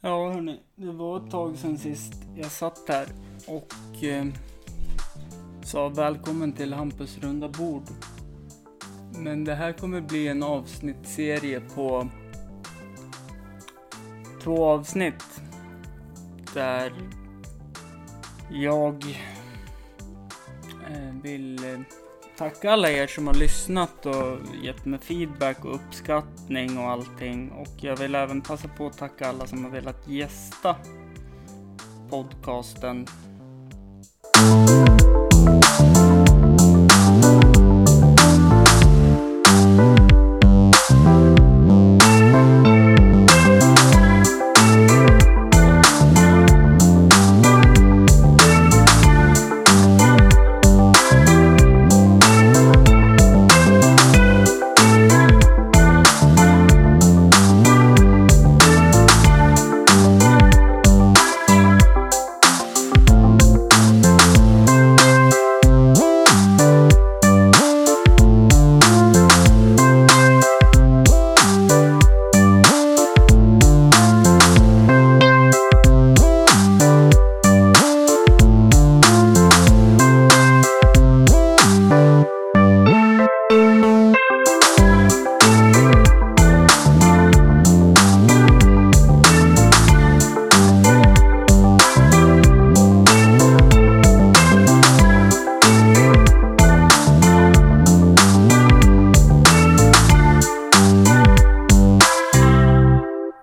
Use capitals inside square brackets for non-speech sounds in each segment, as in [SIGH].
Ja, hörni. Det var ett tag sedan sist jag satt här och eh, sa välkommen till Hampus runda bord. Men det här kommer bli en avsnittserie på två avsnitt där jag eh, vill eh, tacka alla er som har lyssnat och gett mig feedback och uppskattning och allting. Och jag vill även passa på att tacka alla som har velat gästa podcasten.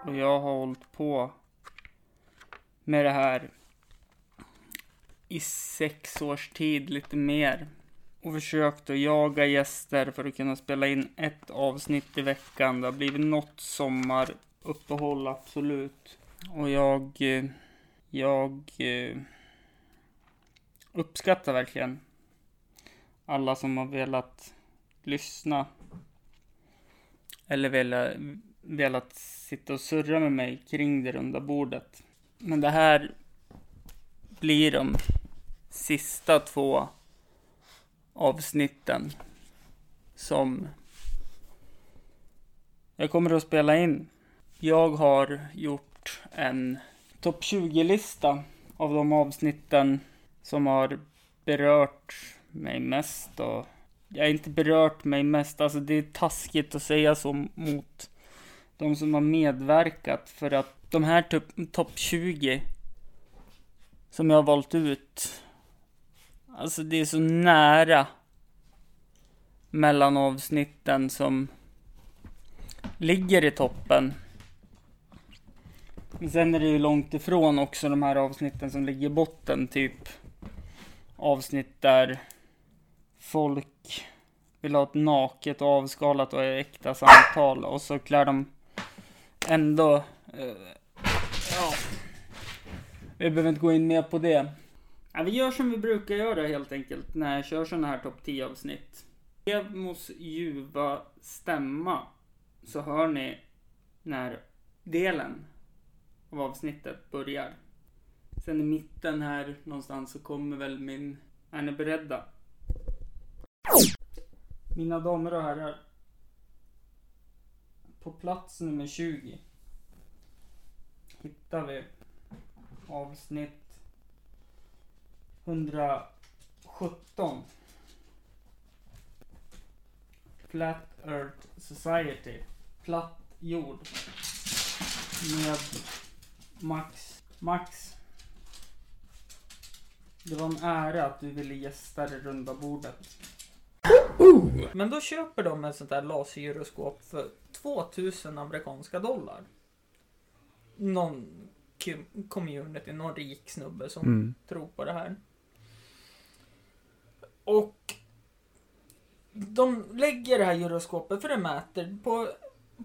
Och jag har hållit på med det här i sex års tid, lite mer. Och försökt att jaga gäster för att kunna spela in ett avsnitt i veckan. Det har blivit något sommaruppehåll, absolut. Och jag... eh, Jag... eh, Uppskattar verkligen alla som har velat lyssna. Eller velat, velat sitta och surra med mig kring det runda bordet. Men det här blir de sista två avsnitten som jag kommer att spela in. Jag har gjort en topp 20-lista av de avsnitten som har berört mig mest och jag har inte berört mig mest, alltså det är taskigt att säga så mot de som har medverkat för att de här typ- topp 20 som jag har valt ut, alltså det är så nära mellan avsnitten som ligger i toppen. Men sen är det ju långt ifrån också de här avsnitten som ligger i botten, typ avsnitt där folk vill ha ett naket och avskalat och äkta samtal och så klär de ändå... eh, ja. Vi behöver inte gå in mer på det. Ja, vi gör som vi brukar göra helt enkelt när jag kör sådana här topp 10 avsnitt. Evmos ljuva stämma så hör ni när delen av avsnittet börjar. Sen i mitten här någonstans så kommer väl min... Är ni beredda? Mina damer och herrar. På plats nummer 20 hittar vi avsnitt 117. Flat Earth Society. Platt jord. Med Max. Max. Det var en ära att du ville gästa det runda bordet. Men då köper de ett sånt där lasergyroskop för 2000 amerikanska dollar. Någon cu- community, någon rik snubbe som tror på det här. Och de lägger det här gyroskopet för det mäter på,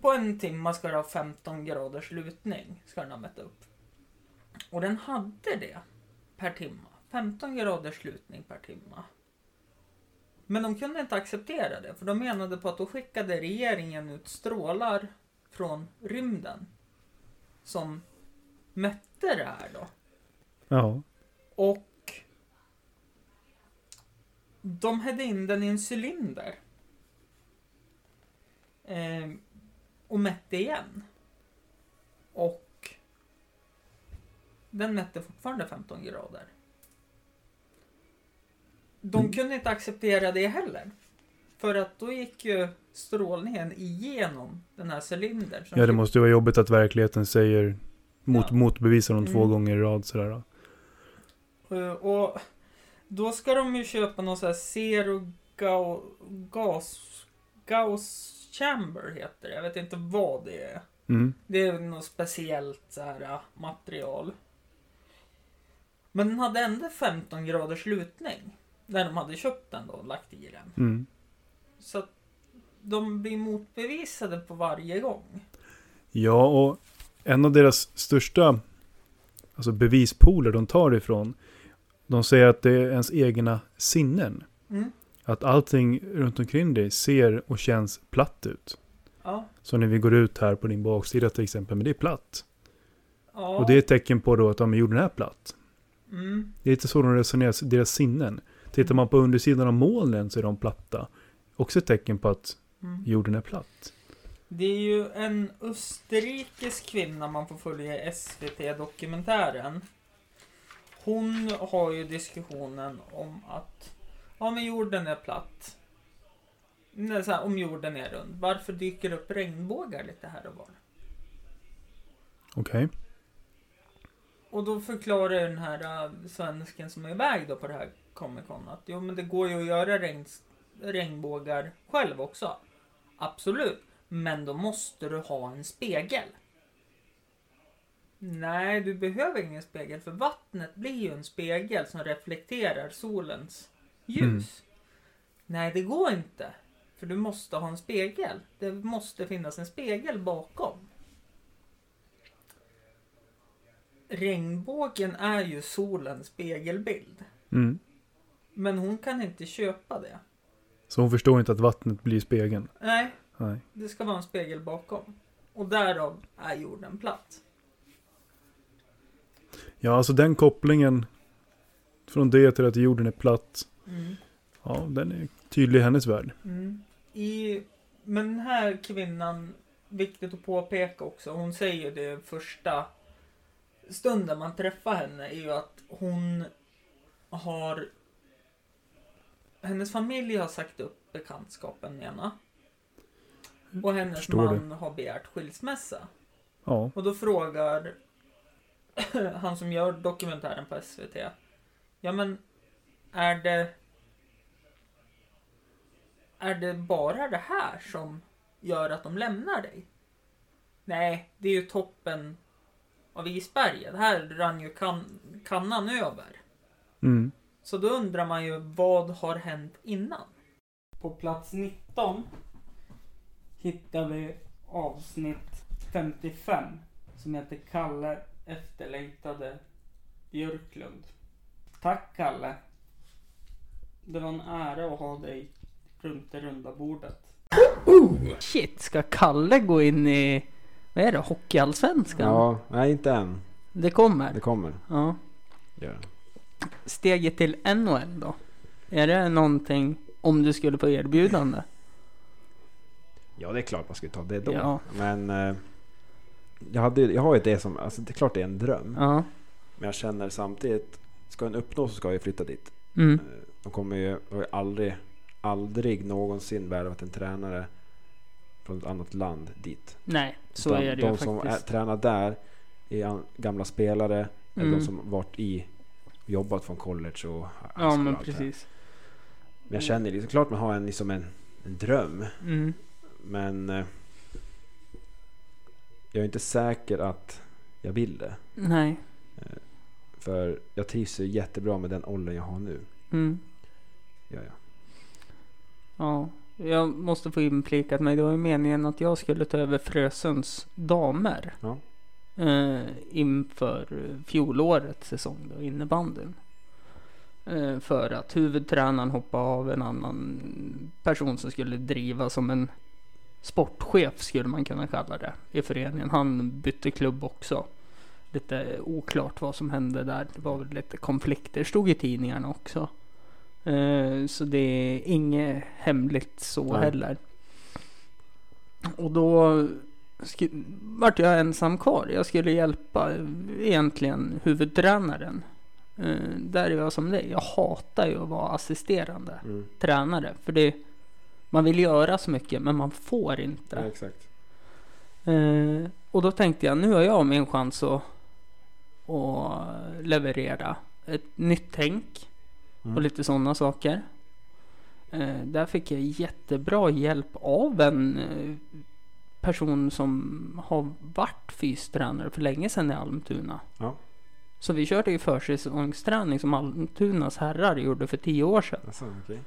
på en timme ska det ha 15 graders lutning. Ska den ha mätt upp. Och den hade det per timme. 15 graders lutning per timme. Men de kunde inte acceptera det för de menade på att då skickade regeringen ut strålar från rymden som mätte det här då. Ja. Och de hade in den i en cylinder. Ehm, och mätte igen. Och den mätte fortfarande 15 grader. De Mm. kunde inte acceptera det heller. För att då gick ju strålningen igenom den här cylindern. som Ja, det fick- måste ju vara jobbigt att verkligheten säger mot, Ja. motbevisar dem två Mm. gånger i rad sådär. då. Eh, Och då ska de ju köpa någon sån här zero gau, gas, Gauss chamber heter det. Jag vet inte vad det är. Mm. Det är något speciellt så här eh, material. Men den hade ändå 15 graders lutning. När de hade köpt den då och lagt i den. Mm. Så att de blir motbevisade på varje gång. Ja, och en av deras största alltså bevispooler de tar ifrån, de säger att det är ens egna sinnen. Mm. Att allting runt omkring dig ser och känns platt ut. Ja, Så när vi går ut här på din baksida till exempel, men det är platt. ja. Och det är ett tecken på då att ja, men jorden är platt. mm, Det är lite så de resonerar, deras sinnen. Tittar man på undersidan av molnen så är de platta. Också ett tecken på att mm. jorden är platt. Det är ju en österrikisk kvinna man får följa i SVT-dokumentären. Hon har ju diskussionen om att ja, men jorden är platt. Nej, så här, om jorden är rund, varför dyker det upp regnbågar lite här och var? Okej. Och då förklarar ju den här äh, svensken som är iväg då på det här Comic Con att jo men det går ju att göra regns- regnbågar själv också. Absolut. Men då måste du ha en spegel. Nej, du behöver ingen spegel för vattnet blir ju en spegel som reflekterar solens ljus. Mm. Nej, det går inte. För du måste ha en spegel. Det måste finnas en spegel bakom. Regnbågen är ju solens spegelbild. Mm. Men hon kan inte köpa det. Så hon förstår inte att vattnet blir spegeln. Nej, Nej. det ska vara en spegel bakom. Och därav är jorden platt. Ja, alltså den kopplingen från det till att jorden är platt. Ja, den är tydlig i hennes värld. Mm. I, men den här kvinnan, viktigt att påpeka också, hon säger det första stunden man träffar henne är ju att hon har hennes familj har sagt upp bekantskapen med henne. Och hennes Förstår det. man har begärt skilsmässa. Ja, Och då frågar [CLEARS THROAT] han som gör dokumentären på SVT. Ja men är det är det bara det här som gör att de lämnar dig? Nej, det är ju toppen av isberget. Här rann ju kan, kannan över. mm. Så då undrar man ju vad har hänt innan? På plats 19 hittar vi avsnitt 55 som heter Kalle efterlängtade Björklund. Tack Kalle. Det var en ära att ha dig runt det runda bordet. Oh, shit, ska Kalle gå in i, vad är det, Hockeyallsvenskan? Ja, nej inte än. Det kommer. Det kommer. Ja. Gör det. steget till NHL då? Är det någonting om du skulle få erbjudande? Ja, det är klart man skulle ta det då. Ja. Men eh, jag, hade, ju- jag har ju det som, alltså det är klart det är en dröm. Ja. Men jag känner samtidigt, ska den uppnås så ska jag flytta dit. Mm. Eh, De kommer ju, har ju aldrig, aldrig någonsin värvat en tränare från ett annat land dit. Nej, så Utan är det de ju som faktiskt. är, tränar där är an- gamla spelare, eller Mm. de som varit i, jobbat från college och high school Ja, och men allt det här. precis. Men jag känner liksom, klart man har en, liksom en, en dröm. Mm. Men eh, jag är inte säker att jag vill det. Eh, Nej. För jag trivs ju jättebra med den åldern jag har nu. Mm. Gör jag. Ja. Jag måste få implikat mig. Det var ju meningen att jag skulle ta över Frösunds damer. Ja. Eh, inför eh, fjolårets säsong då, innebandyn. Eh, för att huvudtränaren hoppade av en annan person som skulle driva som en sportchef skulle man kunna kalla det i föreningen. Han bytte klubb också. Lite oklart vad som hände där. Det var väl lite konflikter. Stod i tidningarna också. Eh, så det är inget hemligt så Nej. heller. Och då sk- vart jag ensam kvar. Jag skulle hjälpa eh, egentligen huvudtränaren. Eh, där är jag som dig. Jag hatar ju att vara assisterande Mm. tränare. För det, man vill göra så mycket men man får inte. Ja, exakt. Eh, och då tänkte jag, nu har jag min chans att, att leverera ett nytt tänk Mm. och lite sådana saker. Eh, där fick jag jättebra hjälp av en eh, person som har varit fystränare för länge sedan i Almtuna. Ja. Så vi körde ju försäsongsträning som Almtunas herrar gjorde för tio år sedan. Alltså, okej.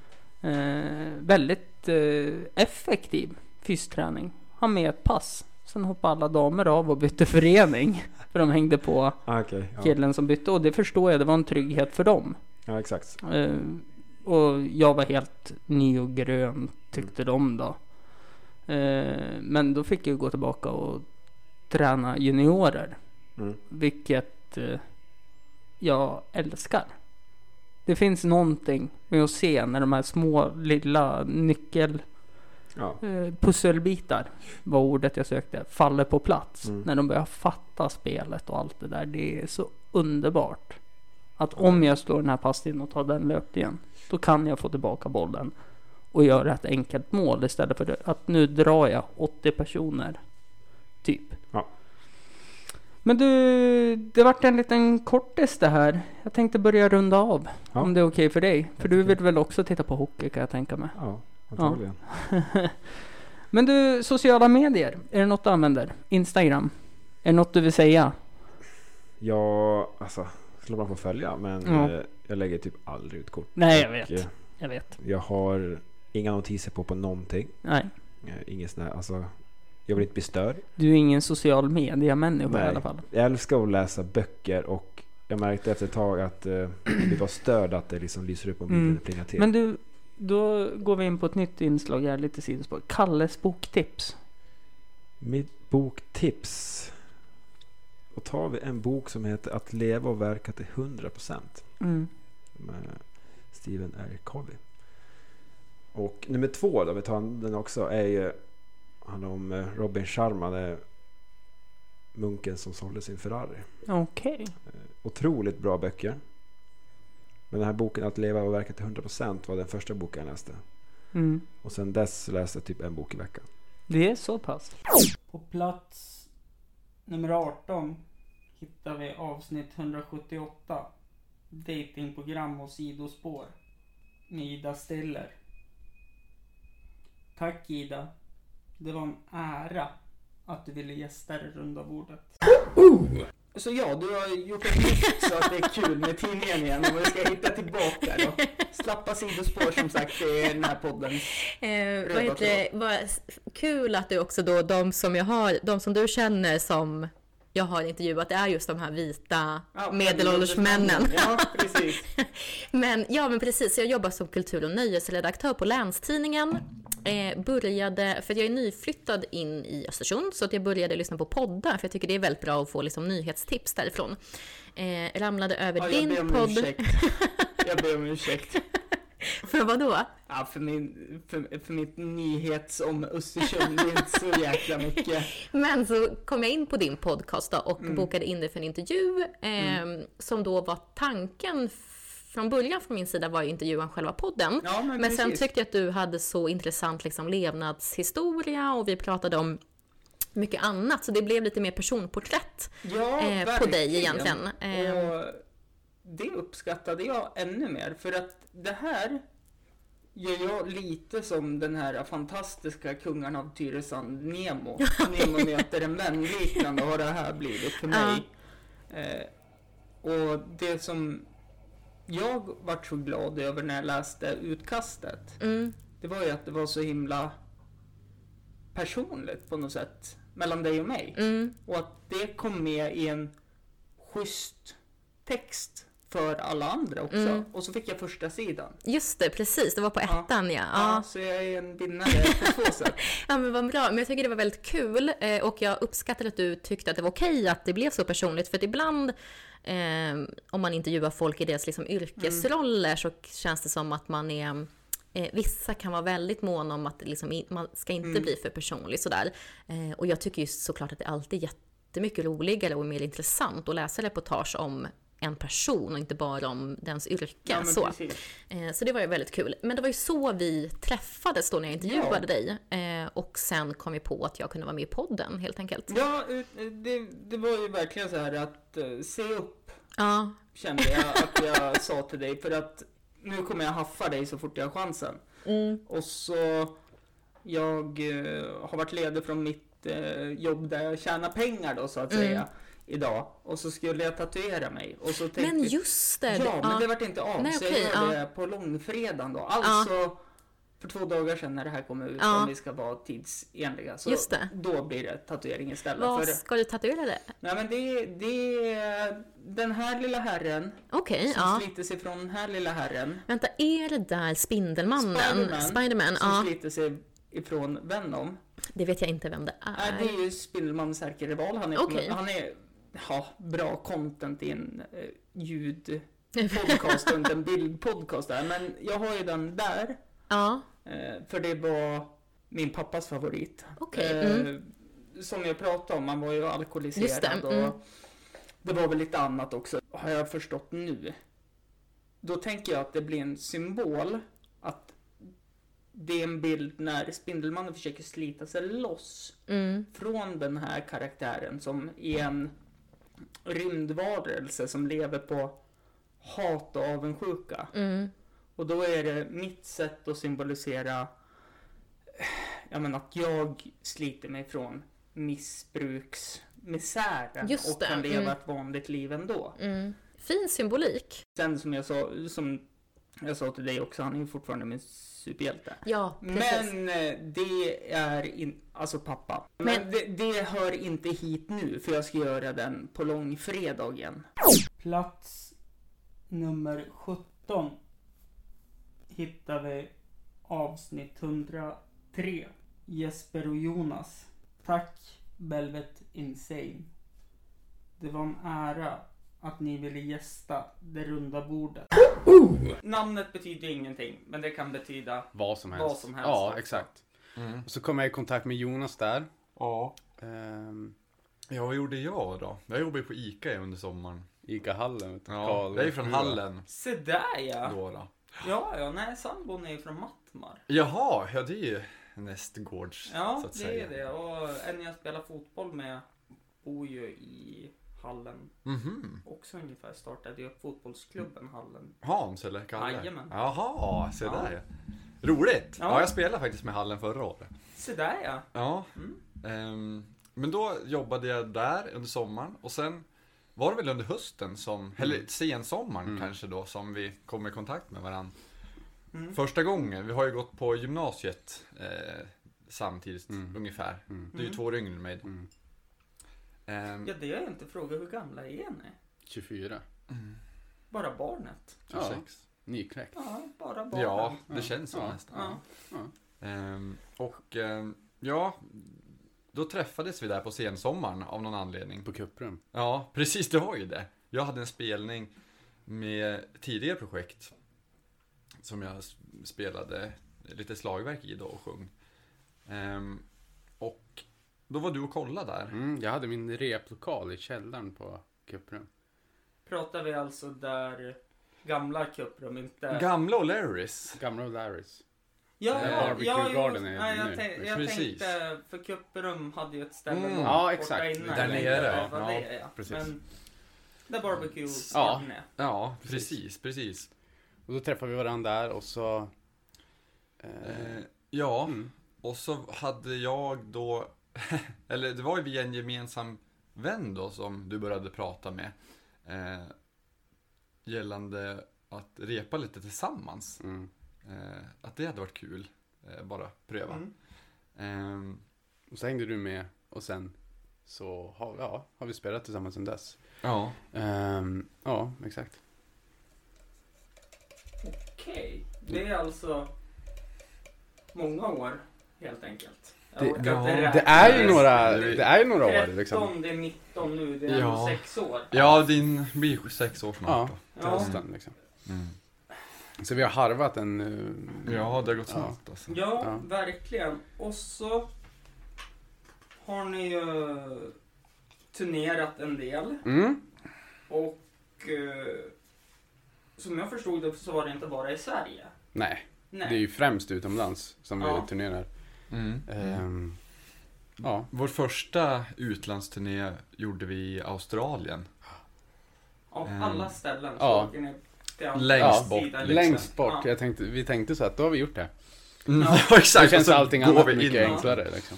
Eh, väldigt eh, effektiv fysträning. Han med ett pass. Sen hoppade alla damer av och bytte förening. För de hängde på Ah, okej, ja. killen som bytte. Och det förstår jag, det var en trygghet för dem. ja, exakt. Eh, och jag var helt ny och grön tyckte de då. Eh, men då fick jag gå tillbaka och träna juniorer. Mm. Vilket eh, jag älskar. Det finns någonting med att se när de här små lilla nyckel Ja. eh, pusselbitar var ordet jag sökte, faller på plats. Mm. När de börjar fatta spelet och allt det där. Det är så underbart. Att Ja. om jag slår den här passningen och tar den löpt igen. Då kan jag få tillbaka bollen. Och göra ett enkelt mål istället för att nu drar jag 80 personer. Typ. Ja. Men du, det vart en liten kortis det här. Jag tänkte börja runda av. Ja. Om det är okej för dig. För du vill väl också titta på hockey kan jag tänka mig. Ja, antagligen. [LAUGHS] Men du, sociala medier. Är det något du använder? Instagram? Är det något du vill säga? Ja, alltså. Slår man på följa. Men Ja. eh, jag lägger typ aldrig ut kort. Nej, jag Och, vet. eh, Jag vet. Jag har inga notiser på på någonting. Nej. Eh, Ingen sån här, alltså. Jag vill inte bli störd. Du är ingen social media-människa i Nej. alla fall. Jag älskar att läsa böcker och jag märkte efter ett tag att eh, det var störd att det liksom lyser upp om bilden Mm. och plingar till. Men du, då går vi in på ett nytt inslag här, lite sidospår. Kalles boktips. Mitt boktips. Då tar vi en bok som heter Att leva och verka till 100%. Mm. Med Stephen R. Covey. Och nummer två då, vi tar den också, är ju han om eh, Robin Sharma. Det är munken som sålde sin Ferrari. Okej. Otroligt bra böcker. Men den här boken Att leva och verka till 100% var den första boken jag läste. Mm. Och sen dess läste jag typ en bok i veckan. Det är så pass. På plats nummer 18 hittar vi avsnitt 178. Datingprogram och sidospår. Med Ida Steller. Tack Ida. Det var en ära att du ville gästa det runda bordet. Så ja, du har gjort ett nytt så att det är kul med tidningen igen och vi ska hitta tillbaka då. Slappa sidospår som sagt i den här podden. Eh, vad heter det? Vad s- kul att du också då, de som jag har, de som du känner som jag har intervjuat, det är just de här vita medelålders männen. Ja, precis. [LAUGHS] Men ja, men precis. Jag jobbar som kultur och nöjesredaktör på Länstidningen. Eh, började, för att jag är nyflyttad in i Östersund, så att jag började lyssna på poddar, för jag tycker det är väldigt bra att få liksom, nyhetstips därifrån. Eh, ramlade över Ja, jag ber din om podd. ursäkt. [LAUGHS] Jag ber om ursäkt. För vadå? Ja, för, min, för, för mitt nyhets om Östersund, det är inte så [LAUGHS] jäkla mycket. Men så kom jag in på din podcast då och Mm. bokade in dig för en intervju eh, som då var tanken f- från början från min sida var ju intervjuen själva podden. Ja, men Men sen precis. tyckte jag att du hade så intressant liksom, levnadshistoria och vi pratade om mycket annat så det blev lite mer personporträtt Ja, eh, på dig egentligen. Eh, Och det uppskattade jag ännu mer för att det här gör jag lite som den här fantastiska kungen av Tyresand Nemo. [LAUGHS] Nemo möter en vän liknande har det här blivit för mig. Eh, och det som jag vart så glad över när jag läste utkastet mm, det var ju att det var så himla personligt på något sätt mellan dig och mig. mm, Och att det kom med i en schysst text för alla andra också. Mm. Och så fick jag första sidan. just det, precis. Det var på Ja. ettan ja. Ja. ja. så jag är en vinnare på två sätt. Ja men vad bra, men jag tycker det var väldigt kul eh, och jag uppskattar att du tyckte att det var okej att det blev så personligt för att ibland Mm. eh, om man intervjuar folk i deras liksom, yrkesroller så känns det som att man är Eh, vissa kan vara väldigt måna om att det liksom, in- man ska inte Mm. bli för personlig sådär. Eh, och jag tycker ju såklart att det alltid är jättemycket roligare och mer intressant att läsa reportage om en person och inte bara om dens yrke. Ja, men så. precis. Eh, Så det var ju väldigt kul. Men det var ju så vi träffades då när jag intervjuade Ja. dig. Eh, Och sen kom vi på att jag kunde vara med i podden helt enkelt. Ja, ut- det, det var ju verkligen så här att eh, se upp Ja, kände jag att [LAUGHS] jag sa till dig för att nu kommer jag haffa dig så fort jag har chansen. mm, Och så, jag eh, har varit ledig från mitt eh, jobb där jag tjänar pengar då så att Mm. säga idag. Och så skulle jag tatuera mig. Och så tänkte men just det. Ja, men ja. det vart inte av. Nej, så okej, jag gjorde det på långfredagen då. Alltså, för två dagar sedan när det här kommer ut, Ja. om vi ska vara tidsenliga, så Just det. då blir det tatuering istället. Vad För, ska du tatuera det? nej, men det, det är den här lilla herren Okej, som ja. sliter sig från den här lilla herren Vänta, är det där Spindelmannen? Spiderman. Spiderman, som ja. sliter sig ifrån Venom. Det vet jag inte vem det Nej, är. det är ju Spindelmannens ärkerival. Han är, Okej. han är ja, bra content i en eh, [LAUGHS] ljudpodcast och inte en bildpodcast där. Men jag har ju den där. Ja, Eh, För det var min pappas favorit. okej. Eh, Mm. Som jag pratade om, han var ju alkoholiserad Just det, och mm. det var väl lite annat också, har jag förstått nu. Då tänker jag att det blir en symbol att det är en bild när Spindelmannen försöker slita sig loss Mm. från den här karaktären som är en rymdvarelse som lever på hat och avundsjuka. Mm. Och då är det mitt sätt att symbolisera ja, men att jag sliter mig från missbruksmisären Just och kan det, leva mm. ett vanligt liv ändå. Mm. Fin symbolik. Sen som jag sa, som jag sa till dig också, han är ju fortfarande min superhjälte. Ja, precis. Men eh, det är in, alltså pappa. Men, Men- det, det hör inte hit nu för jag ska göra den på långfredagen. Plats nummer 17 hittar vi avsnitt 103. Jesper och Jonas. Tack Velvet Insane. Det var en ära att ni ville gästa det runda bordet. Namnet betyder ingenting, men det kan betyda Vad som helst. Vad som helst. alltså. Mm. Ja, exakt. Och så kom jag i kontakt med Jonas där. Ja. Ehm, ja, vad gjorde jag då? Jag jobbade ju på ICA under sommaren. Ica-hallen. vet du, Ja, Karl- jag är från Hallen Se där ja! då. då. Ja, ja, nej, sambon är ju från Mattmar. Jaha, ja det är ju nästgårds Ja, så att det säga. är det. Och en jag spelar fotboll med bor ju i Hallen Mhm. också ungefär. Startade ju upp fotbollsklubben Hallen. Hans eller Kalle? Jajamän. Jaha, se Ja. där ja. Roligt! Ja. Ja. jag spelade faktiskt med Hallen förra året. Se där ja! Ja. Mm. Ehm, men då jobbade jag där under sommaren och sen var det väl under hösten som, eller sensommaren Mm. kanske då, som vi kom i kontakt med varandra. Mm. Första gången, vi har ju gått på gymnasiet eh, samtidigt Mm. ungefär. Mm. Du är ju Mm. två år yngre än mig. Mm. Ehm, Ja, det har jag inte frågat. Hur gamla är ni? 24. Bara barnet? Ja. 26. Nykläckt. Ja, bara barnet. Ja, Typ Ja. det känns så Ja. nästan. Ja. Ehm, och ehm, ja, då träffades vi där på sensommaren av någon anledning. På kupprum. Ja, precis, det var ju det. Jag hade en spelning med tidigare projekt som jag s- spelade lite slagverk i då och sjöng. Ehm, och då var du och kollade där. Mm, jag hade min replokal i källaren på kupprum. Pratar vi alltså där gamla kupprum, inte... Gamla O'Larrys. Gamla O'Larrys. ja, Där ja, Barbecue ja, ja, Garden är nej, jag, nu. tänk, jag Precis. tänkte, för kupprum hade ju ett ställe Mm. långt Ja, borta exakt. innan. Där Jag nere, tänkte, ja, vad ja. det är, ja. Precis. Men där barbecue Ja. är. Ja, Precis. precis, precis. Och då träffade vi varandra där och så... Eh, Eh, ja, mm. och så hade jag då, [LAUGHS] eller det var ju via en gemensam vän då som du började prata med. Eh, gällande att repa lite tillsammans. Mm. Eh, att det hade varit kul. Eh, bara pröva. Mm. Ehm, Och så hängde du med och sen så har, ja, har vi spelat tillsammans sedan dess. ja. Ehm, ja, exakt. Okej, det är alltså många år helt enkelt. Jag Det- orkar ja, inte räkna. Det är ju Det några, det är ju några år liksom. 13, det är 19 nu, det är Ja. ändå 6 år. ja, din blir ju sex år snart Ja. då. Till hösten liksom. Mm. Så vi har harvat en... eh, Ja, det har gått snabbt alltså. Ja, Ja. verkligen. Och så har ni ju turnerat en del Mm. och eh, som jag förstod det så var det inte bara i Sverige. Nej, Nej. det är ju främst utomlands som Ja. vi turnerar. Mm. Ehm, ja. Vår första utlandsturné gjorde vi i Australien. Av Ehm, alla ställen så ja. åker ni till andra Längst sidan bort, liksom. Längst bort. Ja. Jag tänkte, vi tänkte så att då har vi gjort det. [LAUGHS] Ja, Så exakt. känns Och så allting går annat vi in. mycket in. enklare. Liksom.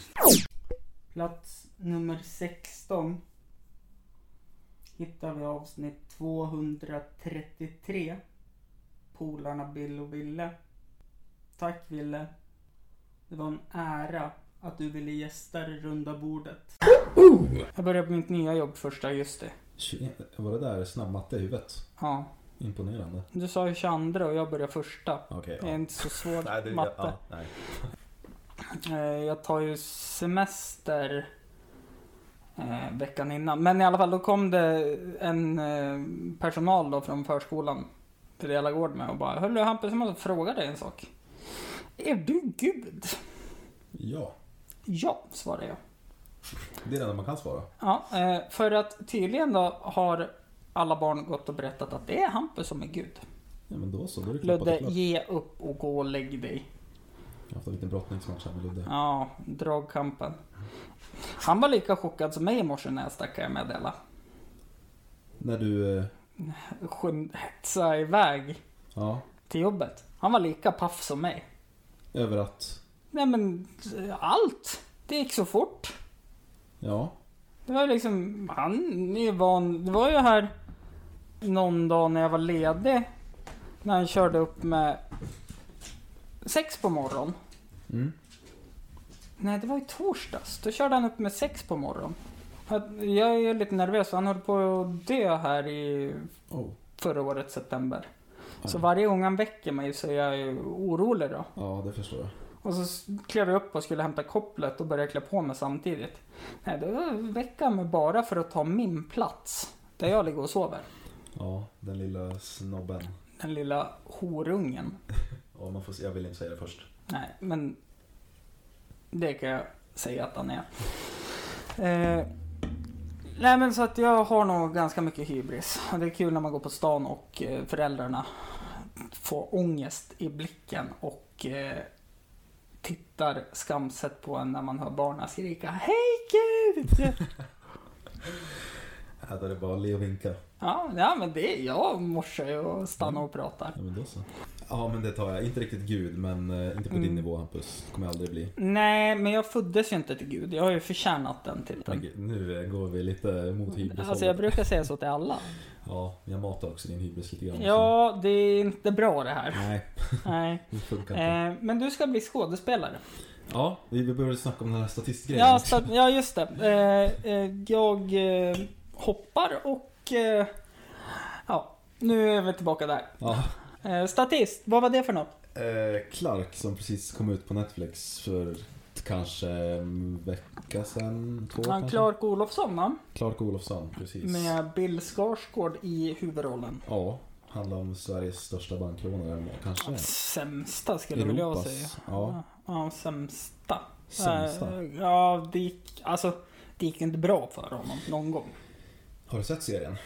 Plats nummer 16 hittar vi avsnitt 233. Polarna Bill och Ville. Tack Ville. Det var en ära att du ville gästa det runda bordet. Jag börjar på mitt nya jobb första augusti. Tje- Var det där snabb matte i huvudet? Ja, Imponerande. du sa ju 22 och jag börjar första. Okej. Det är inte så svår [LAUGHS] Nej, det- matte. ja, nej. Eh, Jag tar ju semester eh, veckan innan. Men i alla fall, då kom det en eh, personal då från förskolan till hela gård med och bara Hörru Hampus, jag måste fråga dig en sak. Är du gud? Ja, Ja, svarade jag. det är det enda man kan svara. Ja, eh, för att tydligen då har alla barn gått och berättat att det är Hampus som är gud. Ja, men då så, då är det klappat och Ludde, klart. ge upp och gå och lägg dig. Jag har haft en liten brottningsmatch här med Ludde. Ja, dragkampen. Han var lika chockad som mig i morse när jag stack kan jag meddela. När du... eh, skund- hetsa iväg Ja, till jobbet. Han var lika paff som mig. över att... Nej men eh, allt. Det gick så fort. Ja, Det var ju liksom, han är ju van. Det var ju här någon dag när jag var ledig. När han körde upp med sex på morgon. Mm. Nej det var i torsdags. Då körde han upp med sex på morgon. Han- Jag är ju lite nervös för han höll på att dö här i oh. förra årets september. Så Aj. varje gång han väcker mig så är jag ju orolig då. Ja, det förstår jag. Och så s- klev jag upp och skulle hämta kopplet och började klä på mig samtidigt. Nej, då väckte han mig bara för att ta min plats. Där jag ligger och sover. Ja, den lilla snobben. Den lilla horungen. Ja, man får, se- jag vill inte säga det först. Nej, men det kan jag säga att [LAUGHS] han är. Eh, nej, men så att jag har nog ganska mycket hybris. Och Det är kul när man går på stan och eh, föräldrarna får ångest i blicken och eh, tittar skamset på en när man hör barnen skrika Hej Gud! [LAUGHS] Här Äh, där det bara le och vinka. ja, ja, men det är jag morsar ju och stannar och pratar. Ja, men då så. Ja, men det tar jag. Inte riktigt gud, men eh, inte på Mm. din nivå Hampus. Det kommer jag aldrig bli. Nej, men jag föddes ju inte till Gud. Jag har ju förtjänat den Men titeln. gud, nu eh, går vi lite mot hybris Alltså jag brukar säga så till alla. Ja, jag matar också din hybris lite grann. Ja, det är inte bra det här. Nej, [LAUGHS] Nej. det funkar inte. Eh, men du ska bli skådespelare. Ja, vi vi började snacka om den här statistgrejen. Ja, sta- ja just det. Eh, eh, jag eh, hoppar och... Eh, ja, nu är vi tillbaka där. Ja. Eh, statist, vad var det för något? Eh, Clark som precis kom ut på Netflix för t- kanske en vecka sedan, två Han kanske? Clark Olofsson va? Clark Olofsson, precis. Med Bill Skarsgård i huvudrollen. Ja, handlar om Sveriges största bankrånare, kanske. Sämsta skulle väl jag Europas, säga. ja. ja sämsta. Sämsta. Eh, ja, det gick, alltså, det gick inte bra för honom någon gång. Har du sett serien?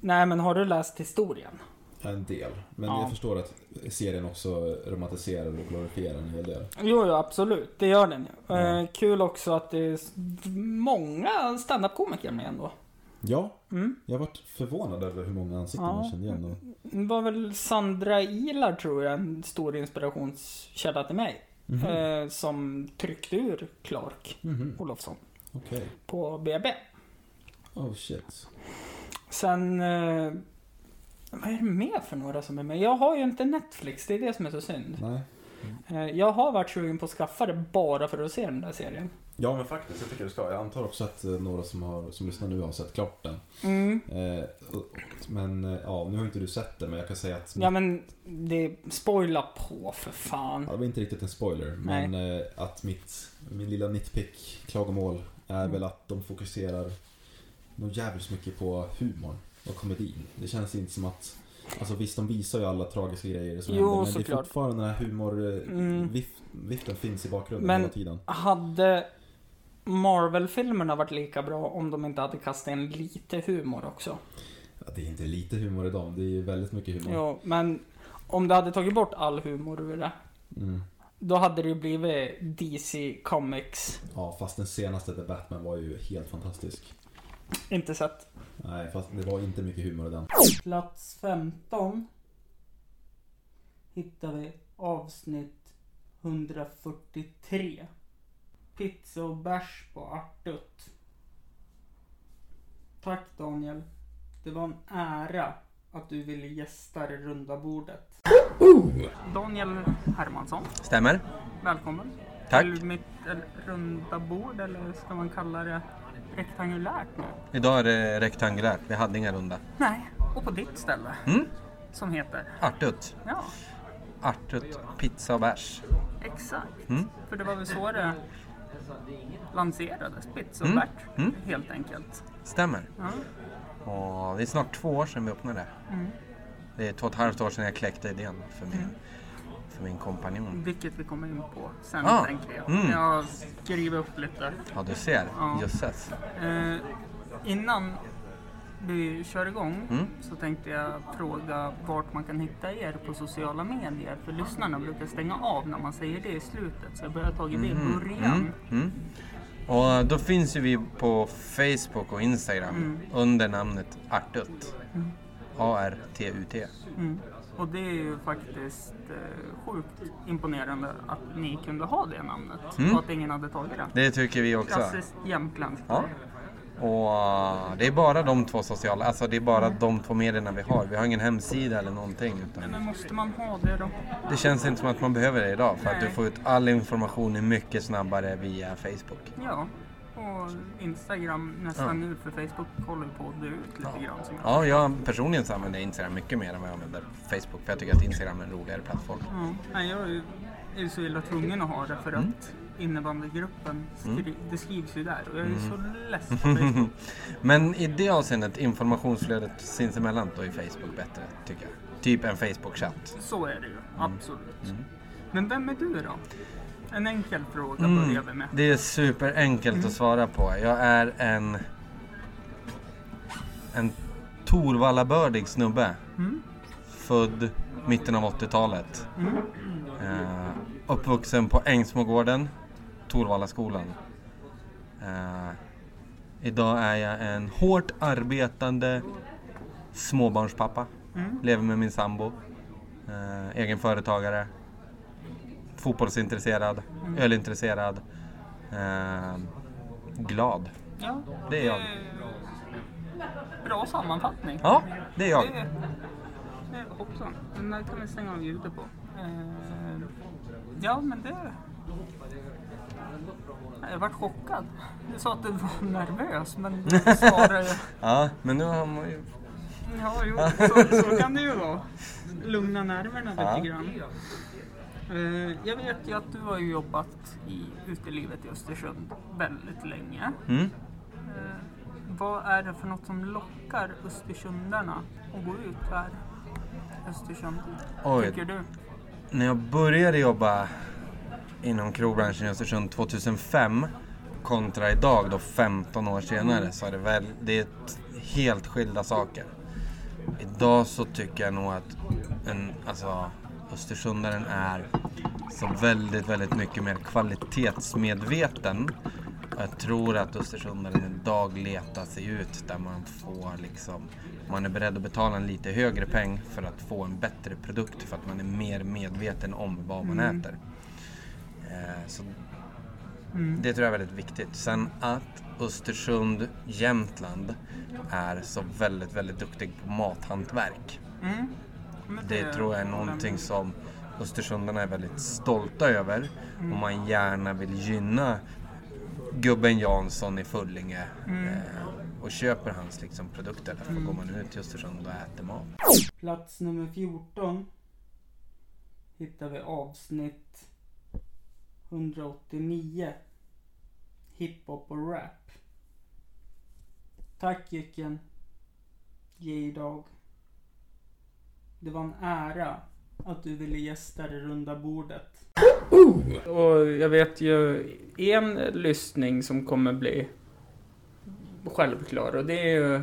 Nej, men har du läst historien? En del. Men Ja. jag förstår att serien också romantiserar och glorifierar en hel del. Jo, jo absolut. Det gör den ju. Ja. Eh, kul också att det är s- många standup-komiker med ändå. Ja, Mm. jag varit förvånad över hur många ansikten Ja. jag kände igen. Och... Det var väl Sandra Ilar tror jag, en stor inspirationskälla till mig. Mhm, Eh, som tryckte ur Clark mhm, Olofsson Okej. på BB. Oh shit. Sen... Eh, vad är det mer för några som är med? Jag har ju inte Netflix, det är det som är så synd. Nej. Eh, jag har varit sugen på att skaffa det bara för att se den där serien. Ja men faktiskt, jag tycker du ska. Jag antar också att eh, några som, har, som lyssnar nu har sett klart den. Mm. Eh, och- men eh, ja, nu har inte du sett det men jag kan säga att Ja men, det... Spoila på för fan. Ja, det var inte riktigt en spoiler men eh, att mitt, min lilla nitpick klagomål är Mm. väl att de fokuserar nog jävligt mycket på humorn och komedin. Det känns inte som att Alltså visst, de visar ju alla tragiska grejer som Jo, händer. Men det är såklart. fortfarande den här humorviften Mm. viften finns i bakgrunden Men- hela tiden. Hade Marvel-filmerna varit lika bra om de inte hade kastat in lite humor också? Ja, det är inte lite humor i dem, det är ju väldigt mycket humor. Jo, men om du hade tagit bort all humor ur det, Mm. då hade det ju blivit DC Comics. Ja, fast den senaste The Batman var ju helt fantastisk. Inte sett. Nej, fast det var inte mycket humor i den. Plats 15 hittar vi avsnitt 143. Pizza och bärs på Artut. Tack Daniel. Det var en ära att du ville gästa det runda bordet. Daniel Hermansson, Stämmer. välkommen. Tack. Till mitt eh, runda bord, eller ska man kalla det rektangulärt nu? Idag är det rektangulärt. Vi hade inga runda. Nej, och på ditt ställe. Mm. Som heter? Artut. Ja, Artut pizza och bärs. exakt. Mm. För det var väl så det lanserades, Pizza och Mm. Bert, Mm. helt enkelt. Stämmer. Ja. Mm. Och det är snart två år sedan vi öppnade. Det är två och ett halvt år sedan jag kläckte idén för min, Mm. för min kompanjon. Vilket vi kommer in på sen Mm. Ah, tänker jag. mm. Jag skriver upp lite. Ja, du ser. Ja. Jösses. Eh, innan vi kör igång Mm. så tänkte jag fråga vart man kan hitta er på sociala medier. För lyssnarna brukar stänga av när man säger det i slutet. Så jag börjar tagit det i Mm, början. mm, mm. Och då finns ju vi på Facebook och Instagram Mm. under namnet Artut. A-R-T-U-T. Mm. Och det är ju faktiskt eh, sjukt imponerande att ni kunde ha det namnet Mm. och att ingen hade tagit det. Det tycker vi också. Klassiskt jämtländskt. Ja. Och eh, det är bara de två sociala, alltså det är bara Mm. de två medierna vi har. Vi har ingen hemsida eller någonting. Nej, Utan Men måste man ha det då? det känns inte som att man behöver det idag för att du Nej. får ut all information mycket snabbare via Facebook. Ja, och Instagram nästan nu för Facebook håller ju på att dö ut lite grann. Som jag. Ja, jag personligen så använder jag Instagram mycket mer än vad jag använder Facebook för jag tycker att Instagram är en roligare plattform. Ja, nej, jag är ju- är ju så illa tvungen att ha det för Mm. att innebandygruppen, skri- det skrivs ju där och jag är ju Mm. så [LAUGHS] less på Facebook. Men i det avseendet informationsflödet sinsemellan då är Facebook bättre tycker jag. Typ en Facebook-chatt. Så är det ju, absolut. Men vem är du då? En enkel fråga Mm. börjar vi med. Mm. Det är superenkelt att svara på. Jag är en... En Torvallabördig snubbe. Mm. Född mitten av 80-talet. Mm. Eh, uppvuxen på Ängsmogården, Torvallaskolan. Eh, idag är jag en hårt arbetande småbarnspappa. Mm. Lever med min sambo. Eh, egen företagare. Fotbollsintresserad. Mm. Ölintresserad. Eh, glad. Ja, Det är jag. Bra sammanfattning. Ja, det är jag. Det, det är hoppsan. Den där kan vi stänga av ljudet på. Eh, ja, men det... Jag vart chockad. Du sa att du var nervös, men du svarade... [LAUGHS] Ja, men nu har man ju... Ja, jo, så, så kan det ju vara. Lugna nerverna Ja. lite grann. Eh, jag vet ju att du har ju jobbat i utelivet i Östersund väldigt länge. Mm. Eh, Vad är det för något som lockar Östersundarna att gå ut här? Östersund, Oj, tycker du? när jag började jobba inom krogbranschen i Östersund 2005 kontra idag då 15 år senare så är det väl, det är t- helt skilda saker. Idag så tycker jag nog att en, alltså, Östersundaren är så väldigt, väldigt mycket mer kvalitetsmedveten. Jag tror att Östersundaren idag letar sig ut där man får liksom, man är beredd att betala en lite högre peng för att få en bättre produkt för att man är mer medveten om vad man Mm. äter. Eh, så Mm. det tror jag är väldigt viktigt. Sen att Östersund, Jämtland är så väldigt, väldigt duktig på mathantverk. Mm. Men Det tror jag är någonting som Östersundarna är väldigt stolta över och man gärna vill gynna gubben Jansson i Fullinge Mm. eh, och köper hans liksom, produkter. Därför går man ut till Östersund och äter mat. Plats nummer 14 hittar vi avsnitt 189. Hiphop och rap. Tack Jycken. Ge idag. Det var en ära att du ville gästa det runda bordet. Och jag vet ju en lyssning som kommer bli självklar och det är ju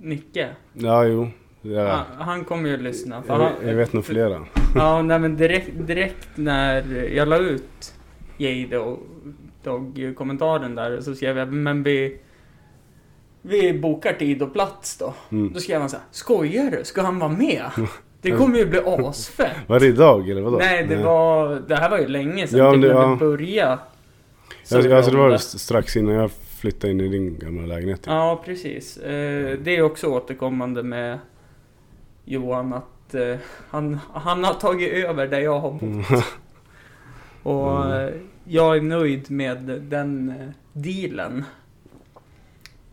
Nicke. [LAUGHS] Ja, jo. Ja. Han, han kommer ju lyssna. för Jag, han- jag vet nog flera. Ja, nej, men direkt, direkt när jag la ut Jade och Dog kommentaren där så skrev jag men vi, vi bokar tid och plats då. Mm. Då skrev han så här, skojar du? Ska han vara med? Det [LAUGHS] kommer ju bli asfett. Var det idag eller vadå? Nej, det var, det här var ju länge sedan. Ja, typ det- när ja. vi började. så Alltså, alltså det om var strax innan jag flyttade in i din gamla lägenhet. typ. Ja, precis. Eh, Det är också återkommande med Johan att eh, han, han har tagit över där jag har Mm. bott. [LAUGHS] Och eh, jag är nöjd med den eh, dealen.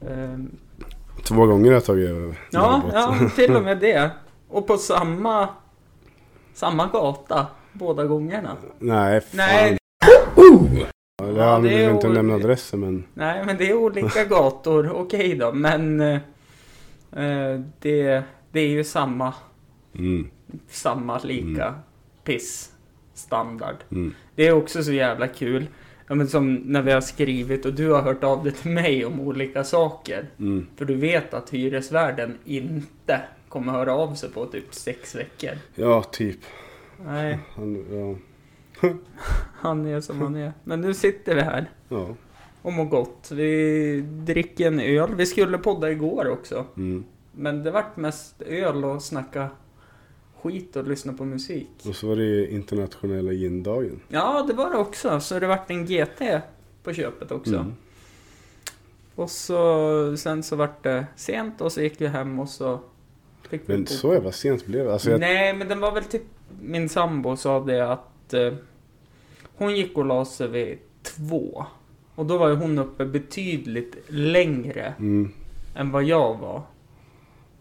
Eh, Två gånger har jag tagit över. Ja, Robot. ja, till och med det. Och på samma, samma gata båda gångerna. Nej, fan. Oh, Nej, Jag Ja, det vill är inte o- nämna adresser men. Nej, men det är olika gator. Okej då, men eh, eh, det, det är ju samma, Mm, samma lika piss standard. mm. Det är också så jävla kul. Ja, men som när vi har skrivit och du har hört av dig till mig om olika saker. Mm. För du vet att hyresvärden inte kommer höra av sig på typ sex veckor. [LAUGHS] Ja, typ. Nej, Han, ja. [LAUGHS] [LAUGHS] han är som han är. Men nu sitter vi här ja. och mår gott. Vi dricker en öl. Vi skulle podda igår också. Mm. Men det vart mest öl och snacka skit och lyssna på musik. Och så var det ju internationella yin-dagen. Ja, det var det också. Så det vart en GT på köpet också. Mm. Och så sen så vart det sent och så gick vi hem och så fick vi Men så jävla sent blev det. Alltså, jag, Nej, men den var väl typ... Min sambo sa det att eh, hon gick och la sig vid två. Och då var ju hon uppe betydligt längre mm. än vad jag var.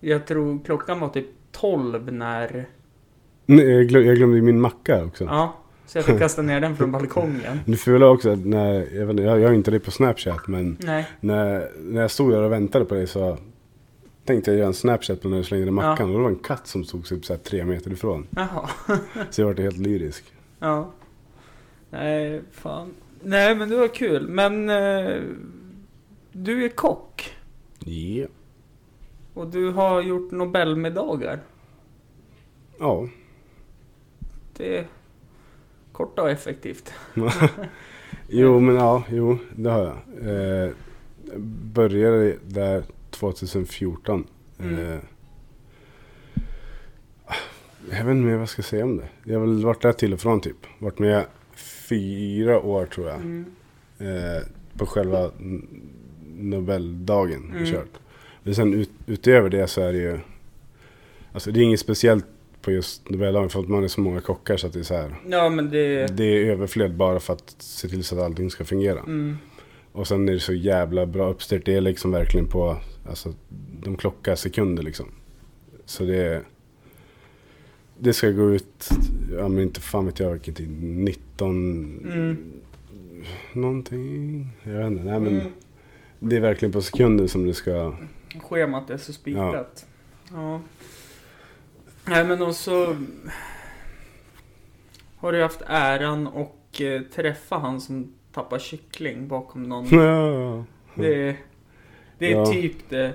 Jag tror klockan var typ 12 när... Nej, jag, glöm, jag glömde ju min macka också. Ja, så jag fick kasta ner den från balkongen. [LAUGHS] Det fula också, att när, jag, vet inte, jag jag har inte det på Snapchat men Nej, när, när jag stod där och väntade på dig så tänkte jag göra en Snapchat på när du slängde mackan. Och det var en katt som stod typ så här tre meter ifrån. jaha. [LAUGHS] Så jag vart helt lyrisk. Ja. Nej, fan. Nej, men det var kul. Men eh, du är kock Ja. och du har gjort Nobelmiddagar. Ja. [LAUGHS] Det är kort och effektivt. Jo, men ja, jo, det har jag. Eh, började där 2014. Mm. Eh, jag vet inte mer vad jag ska säga om det. Jag har väl varit där till och från typ. Varit med fyra år tror jag. Mm. Eh, på själva n- Nobeldagen. Mm. och Kört. Men sen ut, utöver det så är det ju... Alltså det är inget speciellt på just Nobeldagen för att man är så många kockar så att det är så här. Ja, men det... Det är överflöd bara för att se till så att allting ska fungera. Mm, Och sen är det så jävla bra uppstyrt. Det är liksom verkligen på, alltså de klockar sekunder liksom. Så det, det ska gå ut, ja men inte fan vet jag vilken tid, 19 mm, någonting. Jag vet inte, nej men Mm. det är verkligen på sekunder som det ska, schemat är så spikat. Ja. Nej, men och så har du haft äran och eh, träffa han som tappar kyckling bakom någon ja. Det, det är Ja. typ det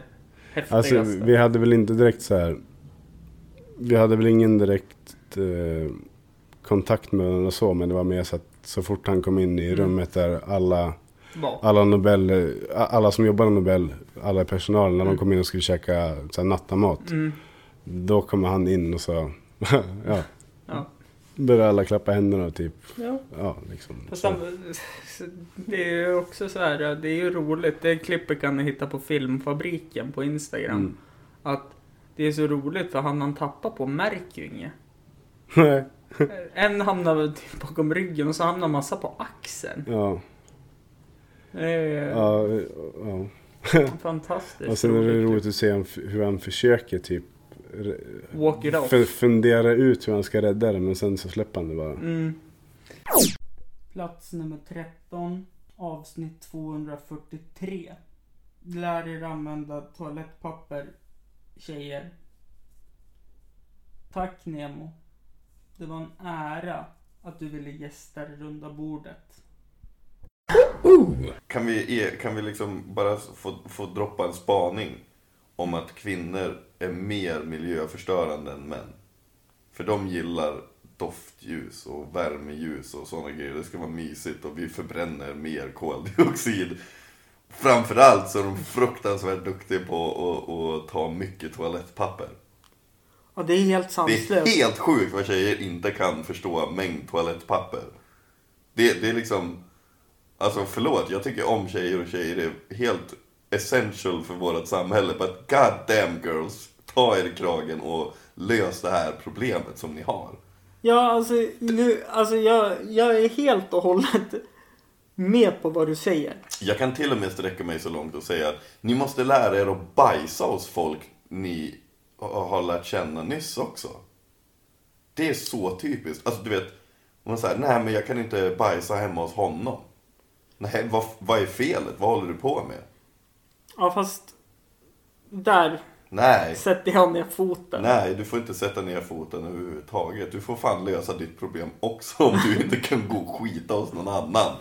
häftigaste. Alltså vi hade väl inte direkt så här. Vi hade väl ingen direkt eh, kontakt med varandra och så. Men det var mer så att så fort han kom in i Mm. rummet där alla, Bak. alla Nobel, eh, alla som jobbar i Nobel, alla i personalen, när de Mm. kom in och skulle käka så här, nattamat. Mm. Då kom han in och så, [LAUGHS] ja. Ja. Började alla klappa händerna och typ, Ja. ja liksom. Fast Så. han- det är ju också så här, det är ju roligt. Det klippet kan ni hitta på Filmfabriken på Instagram. Mm. Att det är så roligt för han han tappar på märker ju inget. [LAUGHS] Nej. En hamnar väl typ bakom ryggen och så hamnar massa på axeln. ja, Det är ja, ja. [LAUGHS] fantastiskt Och sen är det roligt. roligt att se han f- hur han försöker typ re- Walk it off. F- fundera ut hur han ska rädda det men sen så släpper han det bara. Mm. Plats nummer 13, avsnitt 243. Lär er använda toalettpapper, tjejer. Tack Nemo. Det var en ära att du ville gästa det runda bordet. Kan vi, e- kan vi liksom bara få, få droppa en spaning om att kvinnor är mer miljöförstörande än män? För de gillar doftljus och värmeljus och sådana grejer. Det ska vara mysigt och vi förbränner mer koldioxid. Framförallt så är de fruktansvärt duktiga på att- att, att ta mycket toalettpapper. Och det är helt Det sanslöst. är helt sjukt vad tjejer inte kan förstå mängd toalettpapper. Det, det är liksom... Alltså förlåt, jag tycker om tjejer och tjejer är helt essential för vårt samhälle. But god damn girls, ta er i kragen och lös det här problemet som ni har. Ja, alltså, nu, alltså jag, jag är helt och hållet med på vad du säger. Jag kan till och med sträcka mig så långt och säga att ni måste lära er att bajsa hos folk ni har lärt känna nyss också. Det är så typiskt. Alltså du vet, om man säger nej men jag kan inte bajsa hemma hos honom. Nej, vad, vad är felet? Vad håller du på med? Ja, fast där Nej. sätter jag ner foten. Nej, du får inte sätta ner foten överhuvudtaget. Du får fan lösa ditt problem också om du inte kan gå och skita hos någon annan.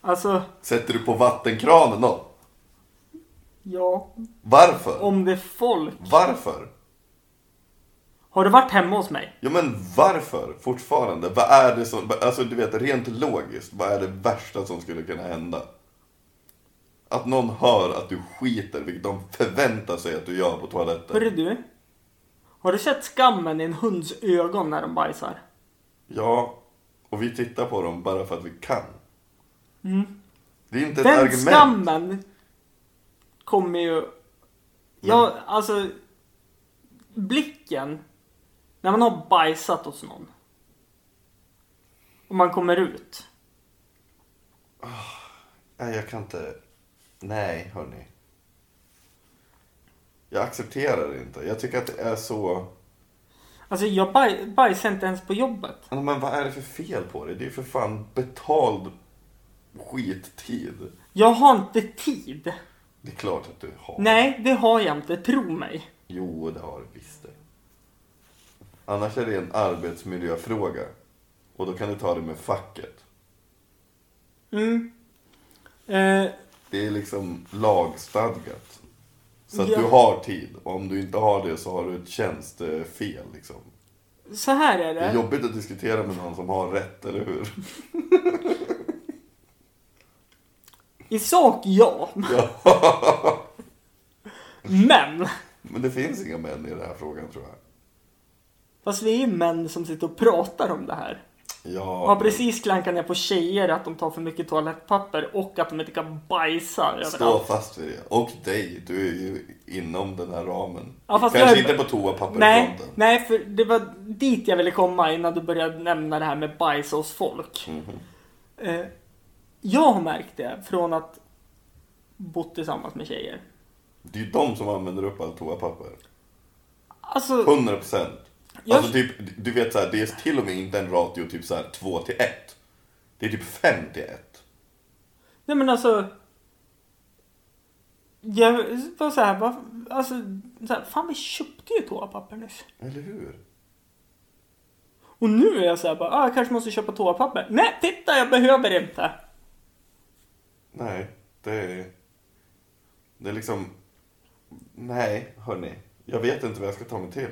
Alltså, Sätter du på vattenkranen då? ja. Varför? Om det är folk. Varför? Har du varit hemma hos mig? Ja men varför fortfarande? Vad är det som, alltså du vet rent logiskt, vad är det värsta som skulle kunna hända? Att någon hör att du skiter, vilket de förväntar sig att du gör på toaletten. Hörru du. Har du sett skammen i en hunds ögon när de bajsar? Ja, och vi tittar på dem bara för att vi kan. Mm. Det är inte Den ett argument. skammen kommer ju... Ja, alltså... Blicken. När man har bajsat hos någon. Och man kommer ut. Nej, jag kan inte. Nej, hörni. Jag accepterar det inte. Jag tycker att det är så... Alltså jag baj, bajsar inte ens på jobbet. Ja, Men vad är det för fel på det? Det är ju för fan betald skittid. Jag har inte tid. Det är klart att du har. Nej, det har jag inte. Tro mig. Jo, det har du visst det. Annars är det en arbetsmiljöfråga. Och då kan du ta det med facket. Mm. Eh, Det är liksom lagstadgat. Så att Ja. du har tid. Och om du inte har det så har du ett tjänstefel liksom. så här är Det det. är jobbigt att diskutera med någon som har rätt, eller hur? I sak, ja. Ja. Men. Men det finns inga män i den här frågan tror jag. [LAUGHS] Fast vi är ju män som sitter och pratar om det här. Ja, Och har precis klankat ner på tjejer att de tar för mycket toalettpapper och att de inte kan bajsa Stå överallt. fast vid det. Och dig, du är ju inom den här ramen. Ja, fast Kanske jag är- inte på toapappersfronten. Nej, nej, för det var dit jag ville komma innan du började nämna det här med bajs hos folk. liksom. Mhm. Eh, jag har märkt det från att bott tillsammans med tjejer. Det är ju de som använder upp allt toapapper. Alltså, 100 procent. Jag- Alltså typ, du vet såhär, det är till och med inte en ratio typ såhär 2 till 1. Det är typ 5 till 1. Nej men alltså. Jag var så här, vad, alltså, så här, fan vi köpte ju toapapper nyss. Eller hur? Och nu är jag så här bara, ah, jag kanske måste köpa toapapper. Nej, titta jag behöver inte. Nej, det är... Det är liksom... Nej, hörni. Jag vet inte vad jag ska ta mig till.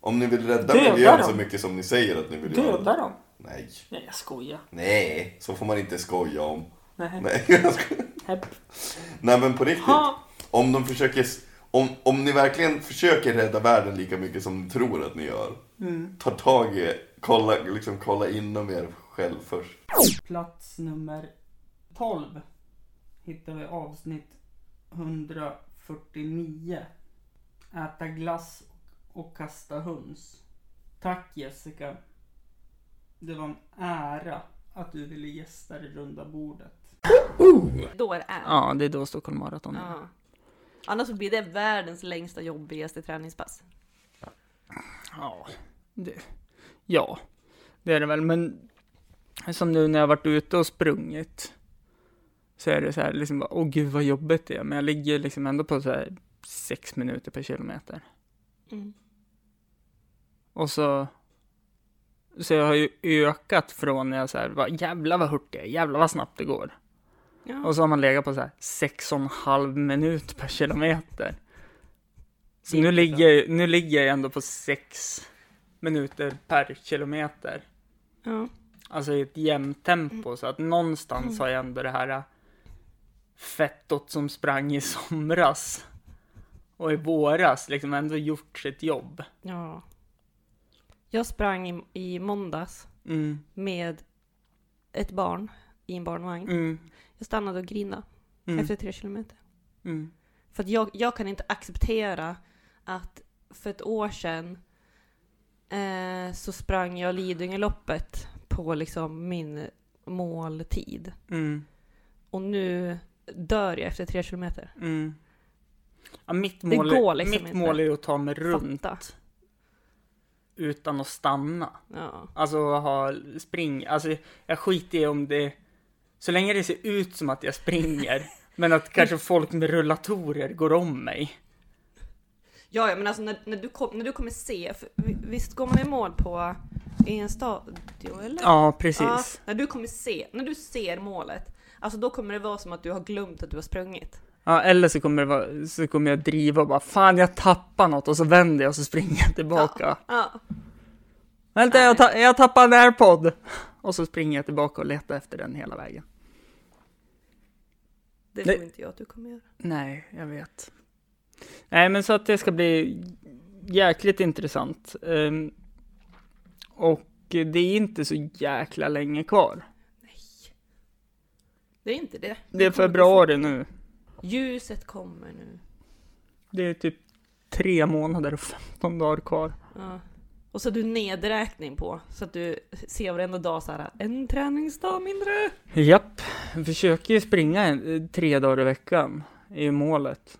Om ni vill rädda Döda miljön dem. så mycket som ni säger att ni vill göra. Döda dem. Nej. Nej jag skojar. Nej, så får man inte skoja om. Nej. [LAUGHS] Nej, jag skojar. Hepp. Nej men på riktigt. Ha. Om de försöker... Om, om ni verkligen försöker rädda världen lika mycket som ni tror att ni gör. Mm. Ta tag i... Kolla, liksom, kolla inom er själv först. Plats nummer 12 hittar vi avsnitt 149. Äta glass och kasta höns. Tack Jessica. Det var en ära att du ville gästa det runda bordet. Då är det ärligt. Ja, det är då Stockholm Marathon är. Ja. Annars så blir det världens längsta jobbigaste träningspass. Ja. Det, ja, det är det väl. Men som nu när jag varit ute och sprungit så är det så här liksom, bara, åh gud vad jobbigt det är. Men jag ligger liksom ändå på så här sex minuter per kilometer. Mm. Och så... Så jag har ju ökat från när jag så här, bara, jävlar vad hurtig jag är, jävlar vad snabbt det går. Ja. Och så har man legat på så här 6,5 minut per kilometer. Så nu ligger, nu ligger jag ändå på 6 minuter per kilometer. Ja. Alltså i ett jämnt tempo, så att någonstans har jag ändå det här äh, fettot som sprang i somras och i våras liksom ändå gjort sitt jobb. Ja. Jag sprang i, i måndags Mm. med ett barn i en barnvagn. Mm. Jag stannade och grinade Mm. efter tre kilometer. Mm. För att jag, jag kan inte acceptera att för ett år sedan eh, så sprang jag Lidingöloppet på liksom min måltid. Mm. Och nu dör jag efter tre kilometer. Mm. Ja, mitt Det mål, går liksom mitt inte. mål är ju att ta mig runt. Utan att stanna. Ja. Alltså ha spring, alltså jag skiter i om det, så länge det ser ut som att [LAUGHS] jag springer, men att kanske folk med rullatorer går om mig. Ja, ja men alltså när, när, du kom, när du kommer se, för vi- visst går man i mål på i en stadion eller? Ja, precis. när du kommer se, när du ser målet, alltså då kommer det vara som att du har glömt att du har sprungit. Ja, eller så kommer, det vara, så kommer jag driva och bara fan jag tappar något och så vänder jag och så springer jag tillbaka. Ja, Vänta, jag, ta- jag tappade en airpod! Och så springer jag tillbaka och letar efter den hela vägen. det Nej. tror inte jag att du kommer göra. Nej, jag vet. Nej, men så att det ska bli jäkligt intressant. Ehm, och det är inte så jäkla länge kvar. Det är inte det. Det är februari nu. Ljuset kommer nu. Det är typ tre månader och 15 dagar kvar. Ja. Och så har du nedräkning på, så att du ser varenda dag så här en träningsdag mindre. Japp, jag försöker ju springa en, eh, tre dagar i veckan, är ju målet.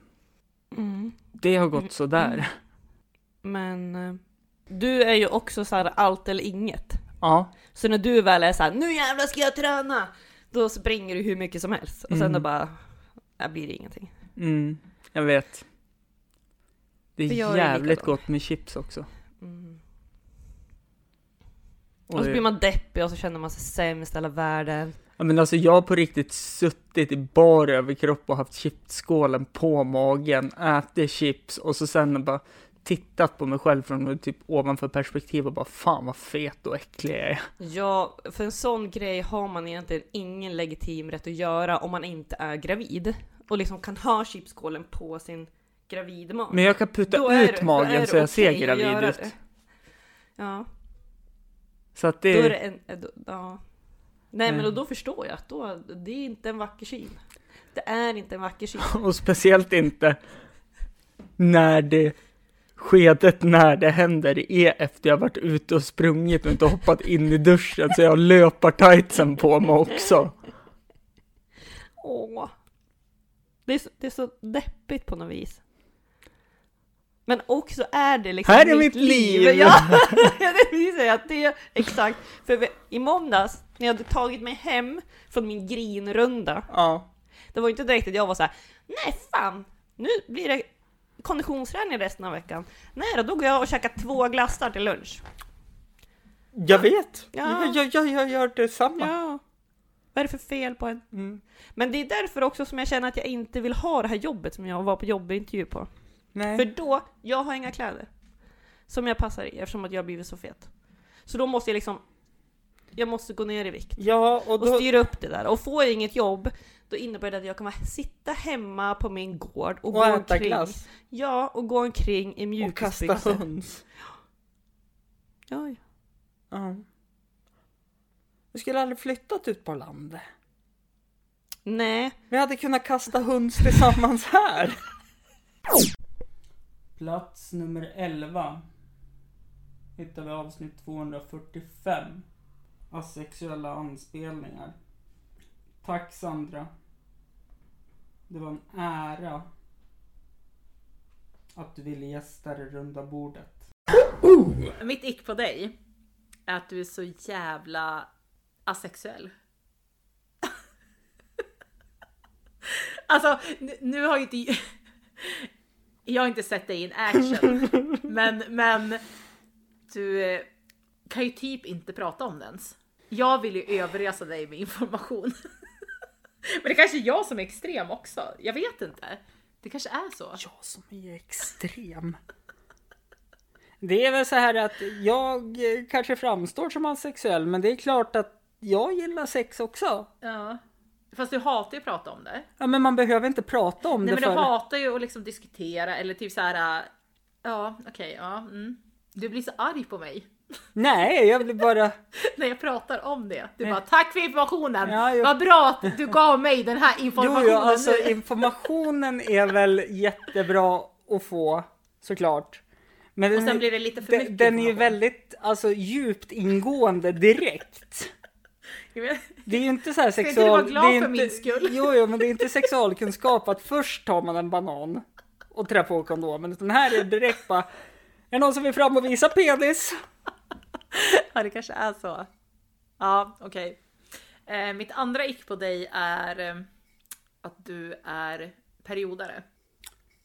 Mm. Det har gått sådär. Men eh, du är ju också så här allt eller inget. Ja. Så när du väl är så här, nu jävlar ska jag träna! Då springer du hur mycket som helst och sen Mm. då bara, här blir det ingenting. Mm, jag vet. Det För är jag är jävligt likadan. gott med chips också. Mm. Och så blir man deppig och så känner man sig sämst i hela världen. Ja, men alltså jag har på riktigt suttit i bar överkropp och haft chipsskålen på magen, ätit chips och så sen bara tittat på mig själv från typ ovanför perspektiv och bara fan vad fet och äcklig jag är. Ja, för en sån grej har man egentligen ingen legitim rätt att göra om man inte är gravid. Och liksom kan ha chipskålen på sin gravid mage. Men jag kan putta Då är ut det- då magen är det så jag ser okej att gravid göra ut. det. Ja, Så att då det, är det en... eh, Då, ja. Nej men Mm. och då förstår jag att då, det är inte en vacker syn. Det är inte en vacker syn. [LAUGHS] och speciellt inte när det skedet när det händer är efter jag varit ute och sprungit och inte hoppat in i duschen så jag har löpartajtsen på mig också. Åh. Det är, så, det är så deppigt på något vis. Men också är det liksom Här är mitt liv! [LAUGHS] Ja, jag tänkte säga att det är exakt. För vi- i måndags, när jag hade tagit mig hem från min grinrunda. Ja. Det var ju inte direkt att jag var så här, nej fan, nu blir det konditionsträning resten av veckan. Nej då, då går jag och käkar två glassar till lunch. Jag vet! Ja. Jag, jag, jag, jag gör Mm. detsamma. Ja. Vad är det för fel på en? Men det är därför också som jag känner att jag inte vill ha det här jobbet som jag var på jobbintervju på. Nej. För då, jag har inga kläder. Som jag passar i eftersom att jag har blivit så fet. Så då måste jag liksom, jag måste gå ner i vikt. Ja, och, då... styra upp det där. Och får jag inget jobb, då innebär det att jag kommer sitta hemma på min gård och, Och gå äta omkring. glass. Ja, och gå omkring i mjukisbyxor. kasta höns. Ja, ja. Ja. Vi skulle aldrig flyttat ut på landet. Nej. Vi hade kunnat kasta höns tillsammans här. Plats nummer 11 hittar vi avsnitt 245. Asexuella anspelningar. Tack Sandra. Det var en ära att du ville gästa det runda bordet. Mitt ick på dig är att du är så jävla asexuell. [LAUGHS] alltså, nu, nu har ju inte... [LAUGHS] Jag har inte sett dig in [LAUGHS] action. men, men du eh, kan ju typ inte prata om den ens. Jag vill ju överösa dig med information. [LAUGHS] men det kanske är jag som är extrem också. Jag vet inte. Det kanske är så. Jag som är extrem. Det är väl så här att jag eh, kanske framstår som asexuell, men det är klart att jag gillar sex också. Ja. Fast du hatar ju att prata om det. Ja, men man behöver inte prata om Nej det men du för... hatar ju att liksom diskutera eller typ så här. äh, Ja okej ja. Mm. Du blir så arg på mig [LAUGHS] Nej, jag vill bara... när jag pratar om det. Du bara tack för informationen! Ja, jag- Vad bra att du gav mig den här [LAUGHS] Jo, informationen jo, alltså nu. [LAUGHS] informationen är väl jättebra att få såklart. Men Och sen blir det lite för den, mycket den är ju information. väldigt alltså, djupt ingående direkt. Jag vet- Det är ju inte så här Ska inte sexual... du vara glad det är för min skull? Jo, jo, men det är inte sexualkunskap att först tar man en banan och trär på kondomen. Utan här är det direkt bara... Är det någon som vill fram och visa penis? Ja det kanske är så. Ja okej. Eh, mitt andra ick på dig är eh, att du är periodare.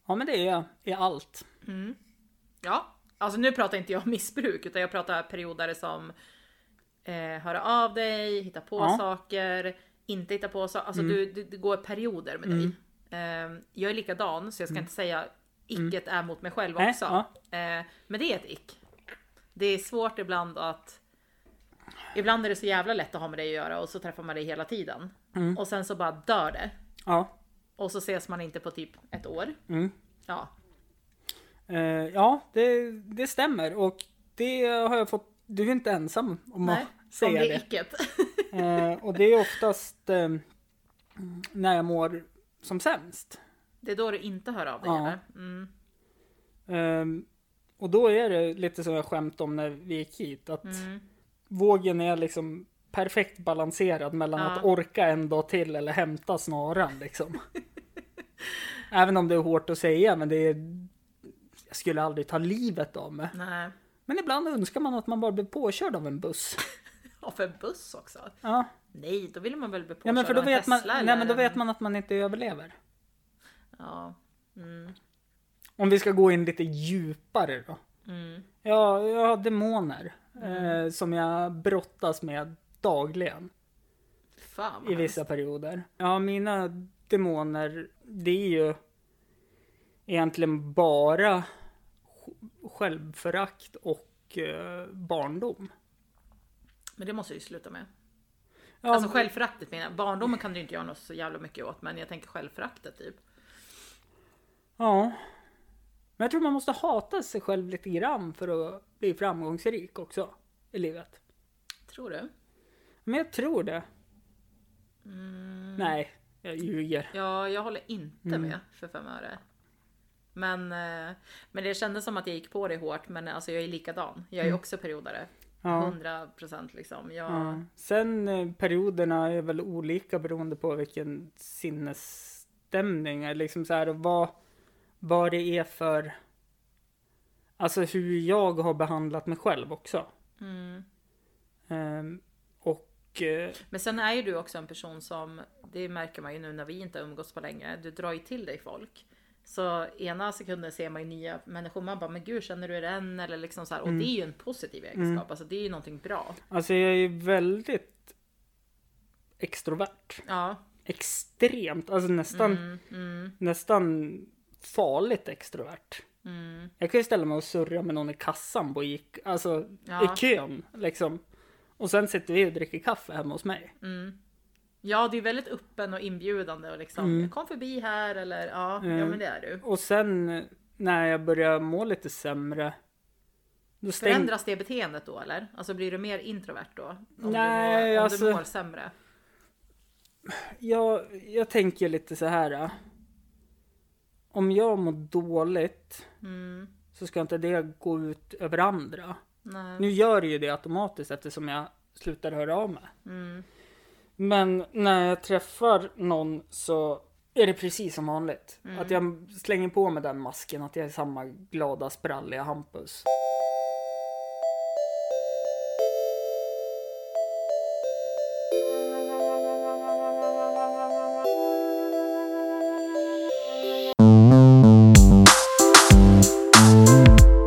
Ja, men det är jag. I allt. Mm. Ja, alltså nu pratar inte jag om missbruk utan jag pratar periodare som eh, höra av dig, hitta på Ja. saker, inte hitta på saker. Alltså Mm. du, du, det går perioder med dig. Mm. Eh, jag är likadan så jag ska Mm. inte säga icket är mot mig själv Nej, också. Eh, men det är ett ick. Det är svårt ibland att Ibland är det så jävla lätt att ha med dig att göra och så träffar man dig hela tiden. Mm. Och sen så bara dör det. Ja. Och så ses man inte på typ ett år. Mm. Ja, Eh, ja, det, det stämmer och det har jag fått. Du är inte ensam om Nej, att om säga det det. icket. Eh, och det är oftast eh, när jag mår som sämst. Det är då du inte hör av dig Ja. eller? [LAUGHS] Mm. Ehm, och då är det lite som jag skämtade om när vi gick hit. Att Mm. vågen är liksom perfekt balanserad mellan Ja. att orka en dag till eller hämta [LAUGHS] snaran liksom. Även om det är hårt att säga men det är... Jag skulle aldrig ta livet av mig. Nej. Men ibland önskar man att man bara blev påkörd av en buss. Ja, för buss också? Ja. Nej, då vill man väl bli [LAUGHS] påkörd Ja men för då av en vet, man, Tesla nej, eller men då en- vet man att man inte överlever. Ja. Mm. Om vi ska gå in lite djupare då. Mm. Ja, jag har demoner eh, som jag brottas med dagligen Fan i vissa perioder. Ja, mina demoner, det är ju egentligen bara sj- självförakt och eh, barndom. Men det måste jag ju sluta med. Ja, alltså men- självföraktet menar jag. Barndomen kan du inte göra något så jävla mycket åt men jag tänker självföraktet typ. Ja. Men jag tror man måste hata sig själv lite grann för att bli framgångsrik också i livet. Tror du? Men jag tror det. Mm. Nej, jag ljuger. Ja, jag håller inte Mm. med för fem öre. Men, eh, men det kändes som att jag gick på det hårt men alltså jag är likadan. Jag är Mm. också periodare. Ja. 100% liksom. Jag, Ja. Sen eh, perioderna är väl olika beroende på vilken sinnesstämning eller liksom så här och vad, vad det är för Alltså hur jag har behandlat mig själv också. mm. Ehm, och eh, Men sen är ju du också en person som, det märker man ju nu när vi inte har umgåtts på länge, du drar ju till dig folk. Så ena sekunden ser man ju nya människor, man bara men gud känner du den? Eller liksom så här, och Mm. det är ju en positiv egenskap, Mm. alltså det är ju någonting bra. alltså jag är väldigt extrovert. Ja. Extremt, alltså nästan, Mm, mm, nästan farligt extrovert. mm. Jag kan ju ställa mig och surra med någon i kassan på gick, alltså Ja. i kön liksom. Och sen sitter vi och dricker kaffe hemma hos mig. Mm. Ja, det är ju väldigt öppen och inbjudande och liksom Mm. kom förbi här eller ja, ja Mm. men det är du. Och sen eh, när jag börjar må lite sämre. Då stäng... Förändras det beteendet då eller? Alltså blir du mer introvert då? Om, du, Nej, mår, om alltså- du mår sämre? jag, jag tänker lite så här. eh. Om jag mår dåligt Mm. så ska inte det gå ut över andra. Nej. Nu gör det ju det automatiskt eftersom jag slutar höra av mig. Mm. Men när jag träffar någon så är det precis som vanligt. Mm. Att jag slänger på mig den masken, att jag är samma glada, spralliga Hampus. Mm.